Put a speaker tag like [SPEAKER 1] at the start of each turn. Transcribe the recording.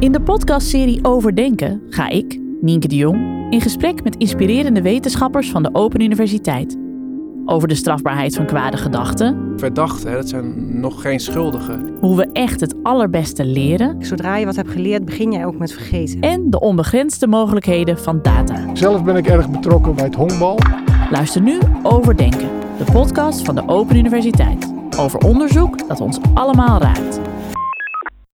[SPEAKER 1] In de podcastserie Overdenken ga ik, Nienke de Jong, in gesprek met inspirerende wetenschappers van de Open Universiteit. Over de strafbaarheid van kwade gedachten,
[SPEAKER 2] Verdachten, hè, dat zijn nog geen schuldigen.
[SPEAKER 1] hoe we echt het allerbeste leren
[SPEAKER 3] Zodra je wat hebt geleerd, begin jij ook met vergeten.
[SPEAKER 1] en de onbegrensde mogelijkheden van data.
[SPEAKER 4] Zelf ben ik erg betrokken bij het honkbal.
[SPEAKER 1] Luister nu Overdenken, de podcast van de Open Universiteit. Over onderzoek dat ons allemaal raakt.